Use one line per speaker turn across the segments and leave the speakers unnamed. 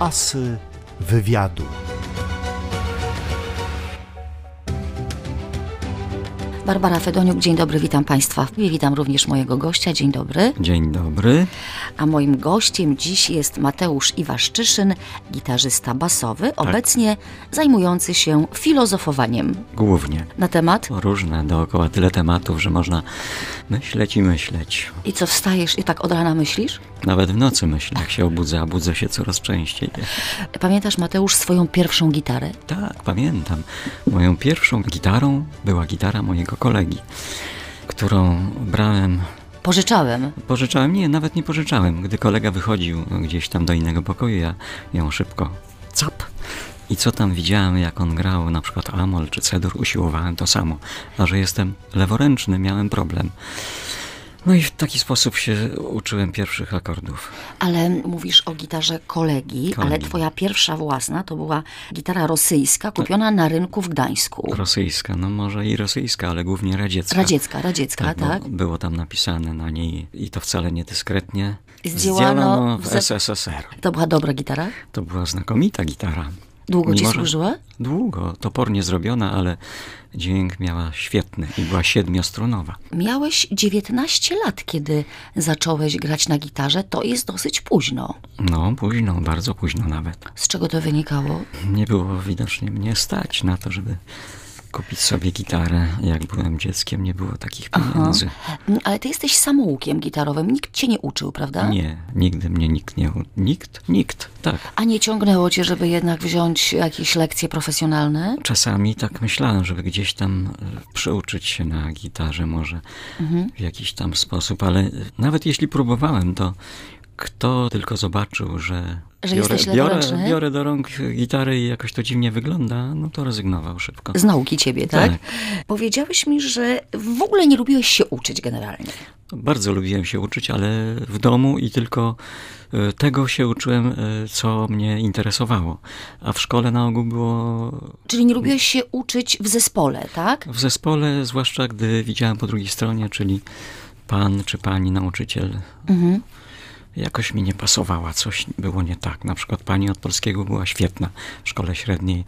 asy wywiadu.
Barbara Fedoniuk, dzień dobry, witam Państwa. I witam również mojego gościa, dzień dobry.
Dzień dobry.
A moim gościem dziś jest Mateusz Iwaszczyszyn, gitarzysta basowy, obecnie zajmujący się filozofowaniem
Głównie.
na temat
Różne dookoła tyle tematów, że można myśleć i myśleć.
i co wstajesz i tak od rana myślisz?
Nawet w nocy myślę, jak się obudzę, a budzę się coraz częściej.
Pamiętasz Mateusz swoją pierwszą gitarę?
Tak, pamiętam. Moją pierwszą gitarą była gitara mojego kolegi, którą brałem.
Pożyczałem.
Pożyczałem? Nie, nawet nie pożyczałem. Gdy kolega wychodził gdzieś tam do innego pokoju, ja ją szybko cap. I co tam widziałem, jak on grał, na przykład Amol czy Cedur, usiłowałem to samo. A że jestem leworęczny, miałem problem. No i w taki sposób się uczyłem pierwszych akordów.
Ale mówisz o gitarze kolegi,
Kolegi.
ale twoja pierwsza własna to była gitara rosyjska kupiona na rynku w Gdańsku.
Rosyjska, no może i rosyjska, ale głównie radziecka.
Radziecka, radziecka,
bo
tak?
Było tam napisane na niej i to wcale nie dyskretnie.
Zdzielano
Zdzielano
w
w
ze-
SSSR.
To była dobra gitara?
To była znakomita gitara.
Długo ci
Mimo, że-
służyła?
Długo, topornie zrobiona, ale dźwięk miała świetny i była siedmiostrunowa.
Miałeś 19 lat, kiedy zacząłeś grać na gitarze. To jest dosyć późno.
No, późno, bardzo późno nawet.
Z czego to wynikało?
Nie było widocznie mnie stać na to, żeby kupić sobie gitarę. Jak byłem dzieckiem, nie było takich pieniędzy.
Mm, Ale ty jesteś samoukiem gitarowym. Nikt cię nie uczył, prawda?
Nie, nigdy mnie nikt nie... u- Nikt? Nikt, tak.
A nie ciągnęło cię, żeby jednak wziąć jakieś lekcje profesjonalne?
Czasami tak myślałem, żeby gdzieś tam e, przyuczyć się na gitarze może
Mhm.
w jakiś tam sposób, ale e, nawet jeśli próbowałem, to kto tylko zobaczył, że,
Że
biorę,
jesteś
biorę,
leworęczny?
biorę do rąk e, gitarę i jakoś to dziwnie wygląda, no to rezygnował szybko.
Z nauki ciebie, tak?
Tak.
Powiedziałeś mi, że w ogóle nie lubiłeś się uczyć generalnie.
Bardzo lubiłem się uczyć, ale w domu i tylko e, tego się uczyłem, e, co mnie interesowało. A w szkole na ogół było
Czyli nie lubiłeś się uczyć w zespole, tak?
W zespole, zwłaszcza gdy widziałem po drugiej stronie, czyli pan czy pani nauczyciel,
Mhm.
jakoś mi nie pasowała, coś było nie tak. Na przykład pani od polskiego była świetna w szkole średniej.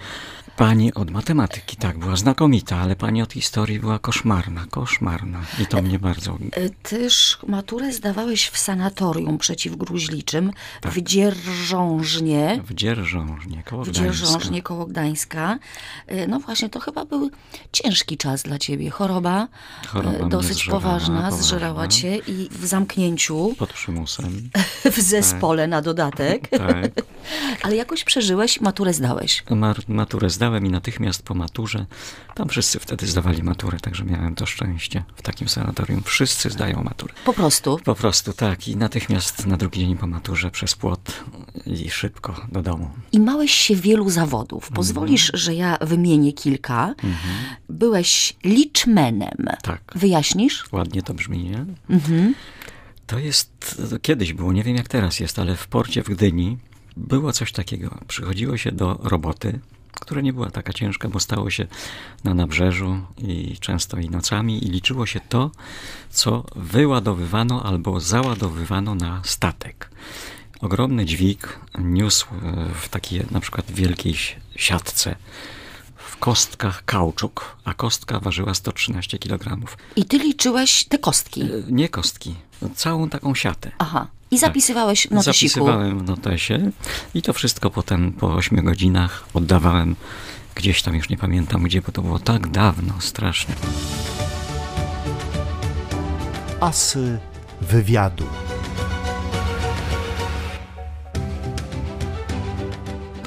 Pani od matematyki, tak, była znakomita, ale pani od historii była koszmarna, koszmarna. I to mnie bardzo.
E, Tyż maturę zdawałeś w sanatorium przeciwgruźliczym w Dzierżążnie.
W dzierżążnie, koło
W
Gdańska.
Dzierżążnie koło Gdańska. E, No właśnie, to chyba był ciężki czas dla ciebie. Choroba, e,
Choroba mnie
dosyć
zżerała,
poważna,
poważna.
zżerała cię i w zamknięciu,
Pod przymusem.
w zespole na dodatek.
Tak.
Ale jakoś przeżyłeś, maturę zdałeś.
Mar- maturę zdałem i natychmiast po maturze, tam wszyscy wtedy zdawali maturę, także miałem to szczęście. W takim sanatorium wszyscy zdają maturę.
Po prostu.
Po prostu tak i natychmiast na drugi dzień po maturze przez płot i szybko do domu.
I małeś się wielu zawodów.
Mhm.
Pozwolisz, że ja wymienię kilka. Byłeś liczmenem.
Tak,
Wyjaśnisz?
ładnie to brzmi, nie? To jest, to kiedyś było, nie wiem jak teraz jest, ale w porcie w Gdyni było coś takiego. Przychodziło się do roboty, która nie była taka ciężka, bo stało się na nabrzeżu i często i nocami i liczyło się to, co wyładowywano albo załadowywano na statek. Ogromny dźwig niósł e, w takiej na przykład wielkiej si- siatce w kostkach kauczuk, a kostka ważyła 113 kg.
I ty liczyłeś te kostki.
E, Nie kostki, całą taką siatę.
Aha. I zapisywałeś w notesiku.
Zapisywałem w notesie i to wszystko potem po 8 godzinach oddawałem gdzieś tam, już nie pamiętam gdzie, bo to było tak dawno, strasznie.
Asy wywiadu.
Tak.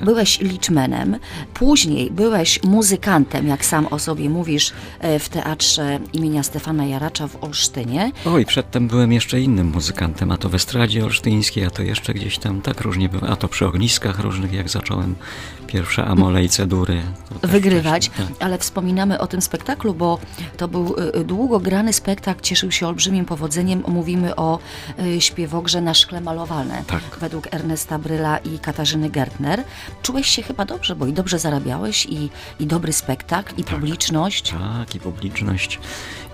Byłeś liczmenem, później byłeś muzykantem, jak sam o sobie mówisz, e, w teatrze imienia Stefana Jaracza w Olsztynie.
Oj, przedtem byłem jeszcze innym muzykantem, a to w estradzie olsztyńskiej, a to jeszcze gdzieś tam, tak różnie byłem, a to przy ogniskach różnych, jak zacząłem pierwsze amole i cedury. To też
Wygrywać,
wcześniej, tak.
ale wspominamy o tym spektaklu, bo to był e, długo grany spektakl, cieszył się olbrzymim powodzeniem. Mówimy o e, śpiewogrze na szkle malowane
Tak.
według Ernesta Bryla i Katarzyny Gertner. czułeś się chyba dobrze, bo i dobrze zarabiałeś, i, i dobry spektakl, i publiczność.
Tak, i publiczność.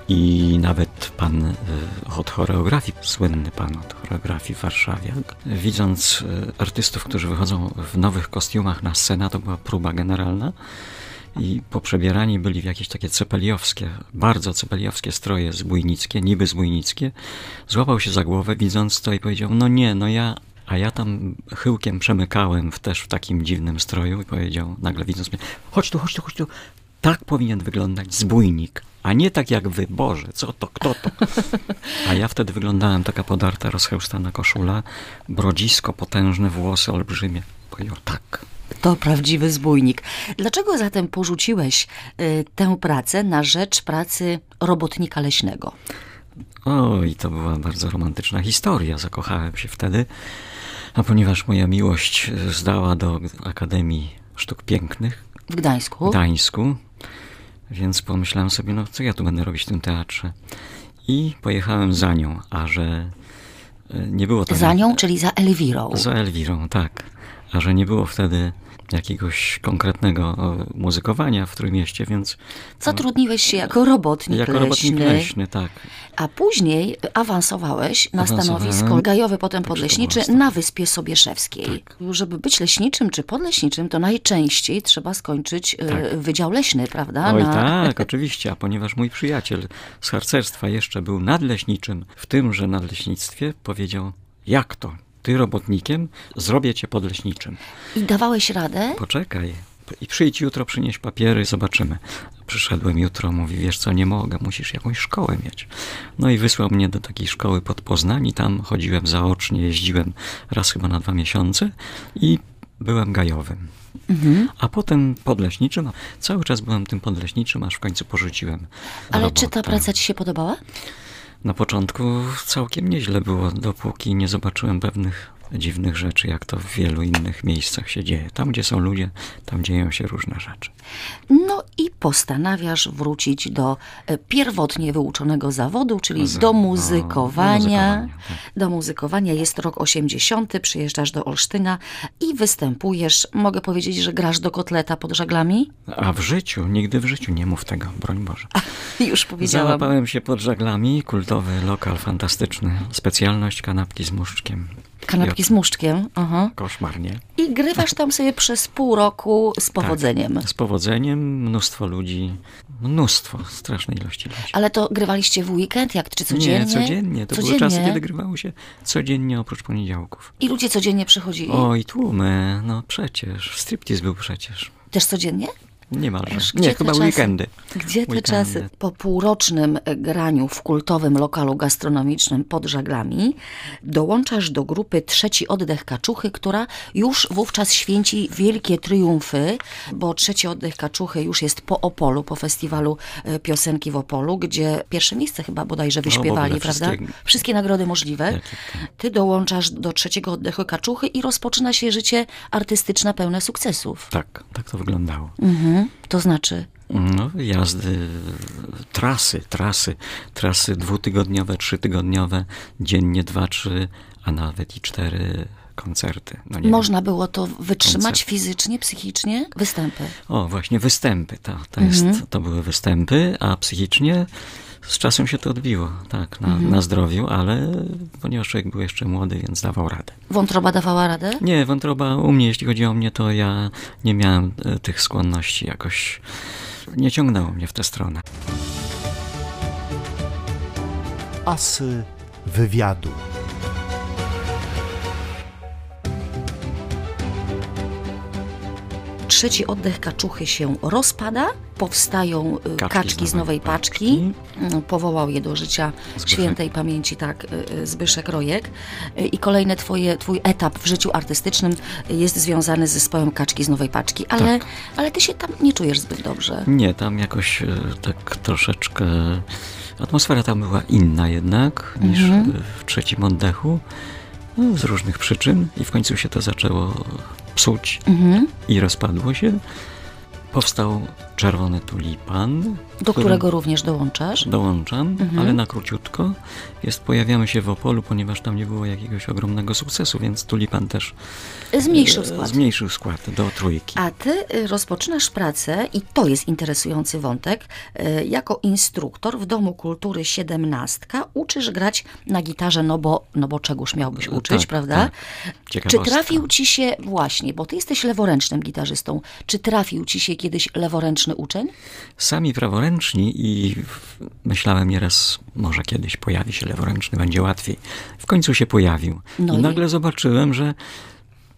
I nawet pan y, od choreografii, słynny pan od choreografii w Warszawie, widząc y, artystów, którzy wychodzą w nowych kostiumach na scenę, to była próba generalna. I poprzebierani byli w jakieś takie cepeliowskie, bardzo cepeliowskie stroje zbójnickie, niby zbójnickie. Złapał się za głowę, widząc to i powiedział, no nie, no ja... A ja tam chyłkiem przemykałem w, też w takim dziwnym stroju i powiedział, nagle widząc mnie, chodź tu, chodź tu, chodź tu, tak powinien wyglądać zbójnik, a nie tak jak wy. Boże, co to, kto to? A ja wtedy wyglądałem taka podarta, rozchełstana koszula, brodzisko, potężne włosy olbrzymie. Powiedział tak.
To prawdziwy zbójnik. Dlaczego zatem porzuciłeś y, tę pracę na rzecz pracy robotnika leśnego?
Oj, to była bardzo romantyczna historia. Zakochałem się wtedy, a ponieważ moja miłość zdała do Akademii Sztuk Pięknych
W Gdańsku?
w Gdańsku, więc pomyślałem sobie, no co ja tu będę robić w tym teatrze. I pojechałem za nią, a że y, nie było tam...
Za nią, czyli za Elwirą.
Za Elwirą, tak. A że nie było wtedy jakiegoś konkretnego e, muzykowania w Trójmieście, więc
Zatrudniłeś się jako robotnik,
jako robotnik leśny, tak.
a później awansowałeś na
Awansowałem. Tak,
stanowisko gajowe, potem
to
podleśniczy
była
na Wyspie Sobieszewskiej.
Tak.
Żeby być leśniczym czy podleśniczym, to najczęściej trzeba skończyć y,
Tak.
Wydział Leśny, prawda?
Oj
na...
tak, oczywiście, a ponieważ mój przyjaciel z harcerstwa jeszcze był nadleśniczym, w tymże nadleśnictwie powiedział, jak to, ty robotnikiem, zrobię cię podleśniczym.
I dawałeś radę?
Poczekaj. I przyjdź jutro, przynieś papiery, zobaczymy. Przyszedłem jutro, mówi, wiesz co, nie mogę, musisz jakąś szkołę mieć. No i wysłał mnie do takiej szkoły pod Poznań i tam chodziłem zaocznie, jeździłem raz chyba na dwa miesiące i byłem gajowym.
Mhm.
A potem podleśniczym, cały czas byłem tym podleśniczym, aż w końcu porzuciłem
Ale
robotę.
czy ta praca ci się podobała?
Na początku całkiem nieźle było, dopóki nie zobaczyłem pewnych dziwnych rzeczy, jak to w wielu innych miejscach się dzieje. Tam, gdzie są ludzie, tam dzieją się różne rzeczy.
No i postanawiasz wrócić do e, pierwotnie wyuczonego zawodu, czyli do muzykowania.
do no, muzykowania, tak.
Do muzykowania jest rok 80, przyjeżdżasz do Olsztyna i występujesz. Mogę powiedzieć, że grasz do kotleta pod żaglami?
A w życiu, nigdy w życiu nie mów tego, broń Boże.
Już powiedziałam.
Załapałem się pod żaglami, kultowy lokal fantastyczny, specjalność kanapki z muszczkiem.
Kanapki
I
z muszczkiem. Aha.
o- Koszmar, nie?
I grywasz tam sobie przez pół roku z powodzeniem.
Tak, z powodzeniem, mnóstwo ludzi, mnóstwo, strasznej ilości ludzi.
Ale to grywaliście w weekend, jak czy codziennie?
Nie, codziennie. To były czasy, kiedy grywało się codziennie oprócz poniedziałków.
I ludzie codziennie przychodzili?
Oj, tłumy, no przecież. Striptease był przecież.
Też codziennie?
Niemalże.
Ależ gdzie
Nie,
te
chyba
czasy?
weekendy.
Gdzie te
Weekendy.
czasy? Po półrocznym e, graniu w kultowym lokalu gastronomicznym pod żaglami dołączasz do grupy Trzeci Oddech Kaczuchy, która już wówczas święci wielkie triumfy, bo Trzeci Oddech Kaczuchy już jest po Opolu, po festiwalu e, piosenki w Opolu, gdzie pierwsze miejsce chyba bodajże
w ogóle
wyśpiewali, prawda?
wszystkie-
Wszystkie nagrody możliwe.
Jakie
Ty dołączasz do Trzeciego Oddechu Kaczuchy i rozpoczyna się życie artystyczne pełne sukcesów.
Tak, tak to wyglądało.
Mhm. To znaczy...
No, jazdy, trasy, trasy, trasy dwutygodniowe, trzytygodniowe, dziennie dwa, trzy, a nawet i cztery koncerty. No, nie
Można było to wytrzymać
Koncert.
fizycznie, psychicznie? Występy.
O, właśnie, występy. To, to,
Mhm.
jest, to były występy, a psychicznie z czasem się to odbiło, tak, na,
Mhm.
na zdrowiu, ale ponieważ człowiek był jeszcze młody, więc dawał radę.
Wątroba dawała radę?
Nie, wątroba u mnie, jeśli chodzi o mnie, to ja nie miałem e, tych skłonności jakoś, nie ciągnęło mnie w tę stronę.
Asy wywiadu.
Trzeci oddech kaczuchy się rozpada, powstają y, kaczki,
Kaczki
z nowej paczki. Mm, Powołał je do życia
Zbyszek.
świętej pamięci, tak, y, y, Zbyszek Rojek. Y, I kolejny twoje, twój etap w życiu artystycznym jest związany z zespołem Kaczki z nowej paczki, ale,
Tak.
ale ty się tam nie czujesz zbyt dobrze.
Nie, tam jakoś e, tak troszeczkę, atmosfera tam była inna jednak niż
Mhm.
e, w trzecim oddechu, no, z różnych przyczyn i w końcu się to zaczęło psuć.
Mhm.
i rozpadło się. Powstał Czerwony Tulipan,
do
który-
którego również dołączasz.
dołączam,
Mhm.
ale na króciutko. Jest, pojawiamy się w Opolu, ponieważ tam nie było jakiegoś ogromnego sukcesu, więc Tulipan też
Zmniejszył
e,
skład.
zmniejszył skład do trójki.
A ty y, rozpoczynasz pracę, i to jest interesujący wątek, y, jako instruktor w Domu Kultury Siedemnastka uczysz grać na gitarze, no bo, no bo czegoś miałbyś uczyć,
tak,
prawda?
tak.
Czy
Ciekawostka.
trafił ci się właśnie, bo ty jesteś leworęcznym gitarzystą, czy trafił ci się kiedyś leworęczny uczeń?
Sami praworęczni i w- myślałem nieraz, może kiedyś pojawi się leworęczny, będzie łatwiej. W końcu się pojawił.
No
I
i-
nagle zobaczyłem, że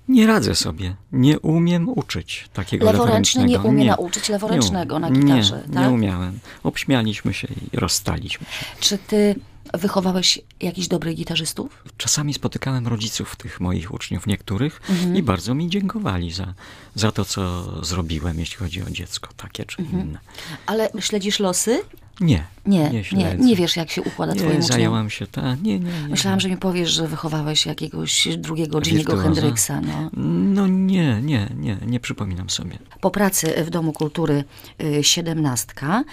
nie radzę sobie, nie umiem uczyć takiego
Leworęczny nie
leworęcznego.
umie nauczyć leworęcznego na gitarze,
nie,
tak?
nie umiałem. Obśmialiśmy się i rozstaliśmy się.
Czy ty wychowałeś jakichś dobrych gitarzystów?
Czasami spotykałem rodziców tych moich uczniów, niektórych,
Mhm.
i bardzo mi dziękowali za, za to, co zrobiłem, jeśli chodzi o dziecko takie czy inne.
Ale śledzisz losy?
Nie,
Mhm. Nie, nie, nie,
śledzę.
wiesz, jak się układa twoim
Nie,
uczniom.
zajęłam się ta. Nie, nie, nie.
Myślałam, że mi powiesz, że wychowałeś jakiegoś drugiego Jimmy'ego
Wirtuoza?
Hendryxa. No.
No nie, nie, nie, nie przypominam sobie.
Po pracy w Domu Kultury y, Siedemnastka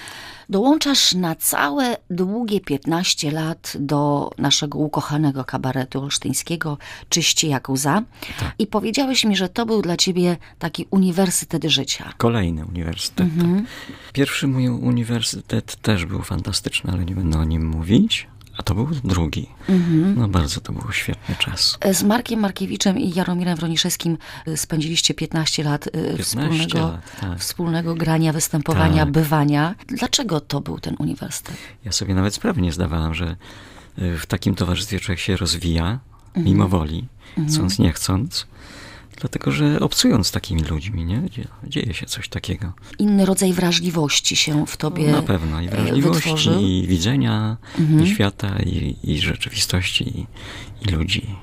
dołączasz na całe długie 15 lat do naszego ukochanego kabaretu olsztyńskiego Czyści Jakuza.
Tak.
I powiedziałeś mi, że to był dla ciebie taki uniwersytet życia.
Kolejny uniwersytet.
Mhm.
tak. Pierwszy mój uniwersytet też był fantastyczny, ale nie będę o nim mówić. A to był drugi.
Mhm.
No bardzo to był świetny czas.
Z Markiem Markiewiczem i Jaromirem Wroniszewskim y, spędziliście 15 lat, y, wspólnego,
lat, tak.
wspólnego grania, występowania,
Tak.
bywania. Dlaczego to był ten uniwersytet?
Ja sobie nawet sprawy nie zdawałam, że y, w takim towarzystwie człowiek się rozwija, mimo woli, chcąc, nie chcąc. Dlatego, że obcując z takimi ludźmi, nie? Dzie- Dzieje się coś takiego.
Inny rodzaj wrażliwości się w tobie
Na pewno i
y,
wrażliwości,
wytworzył.
i widzenia, i świata, i, i rzeczywistości, i, i ludzi,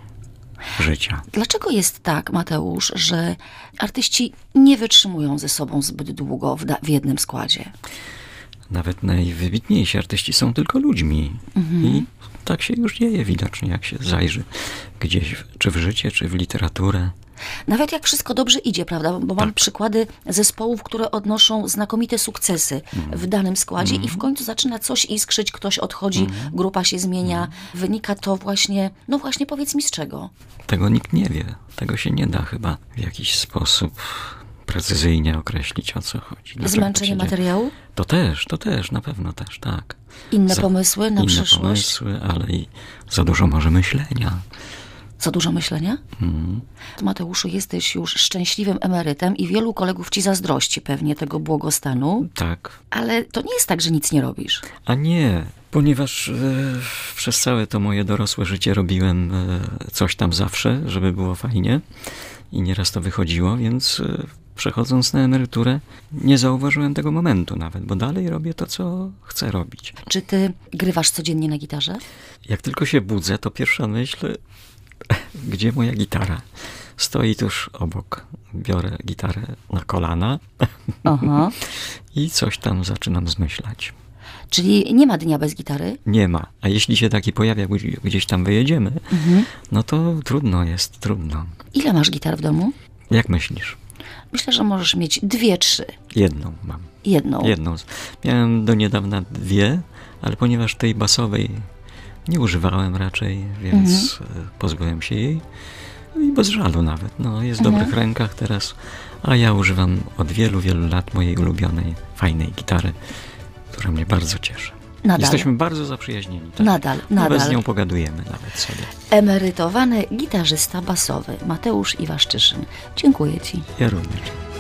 życia.
Dlaczego jest tak, Mateusz, że artyści nie wytrzymują ze sobą zbyt długo w, da- w jednym składzie?
Nawet najwybitniejsi artyści są tylko ludźmi. I tak się już dzieje widocznie, jak się zajrzy gdzieś, w, czy w życie, czy w literaturę.
Nawet jak wszystko dobrze idzie, prawda? Bo mam
Tak.
przykłady zespołów, które odnoszą znakomite sukcesy w danym składzie i w końcu zaczyna coś iskrzyć, ktoś odchodzi, grupa się zmienia. Wynika to właśnie, no właśnie powiedz mi z czego?
Tego nikt nie wie. Tego się nie da chyba w jakiś sposób precyzyjnie określić, o co chodzi. dlaczego tak
Zmęczenie
się dzieje.
materiału?
To też, to też, na pewno też, tak.
Inne pomysły na
inne
przyszłość?
pomysły, ale i za dużo może myślenia. Hmm,
Za dużo myślenia?
Mhm.
Mateuszu, jesteś już szczęśliwym emerytem i wielu kolegów ci zazdrości pewnie tego błogostanu.
Tak.
Ale to nie jest tak, że nic nie robisz.
A nie, ponieważ e, przez całe to moje dorosłe życie robiłem e, coś tam zawsze, żeby było fajnie i nieraz to wychodziło, więc e, przechodząc na emeryturę nie zauważyłem tego momentu nawet, bo dalej robię to, co chcę robić.
Czy ty grywasz codziennie na gitarze?
Jak tylko się budzę, to pierwsza myśl, gdzie moja gitara? Stoi tuż obok. Biorę gitarę na kolana
Aha.
i coś tam zaczynam zmyślać.
Czyli nie ma dnia bez gitary?
Nie ma. A jeśli się taki pojawia, gdzie- gdzieś tam wyjedziemy, no to trudno jest, trudno.
Ile masz gitar w domu?
Jak myślisz?
Myślę, że możesz mieć dwie, trzy.
Jedną mam.
Jedną.
Jedną. z- Miałem do niedawna dwie, ale ponieważ tej basowej nie używałem raczej, więc
Mhm.
e, pozbyłem się jej. No I bez żalu nawet. No, jest w
Mhm.
dobrych rękach teraz, a ja używam od wielu, wielu lat mojej ulubionej, fajnej gitary, która mnie bardzo cieszy.
Nadal.
Jesteśmy bardzo zaprzyjaźnieni. Tak?
Nadal,
Nawet
nadal.
z nią pogadujemy nawet sobie.
Emerytowany gitarzysta basowy Mateusz Iwaszczyszyn. Dziękuję ci.
Ja również.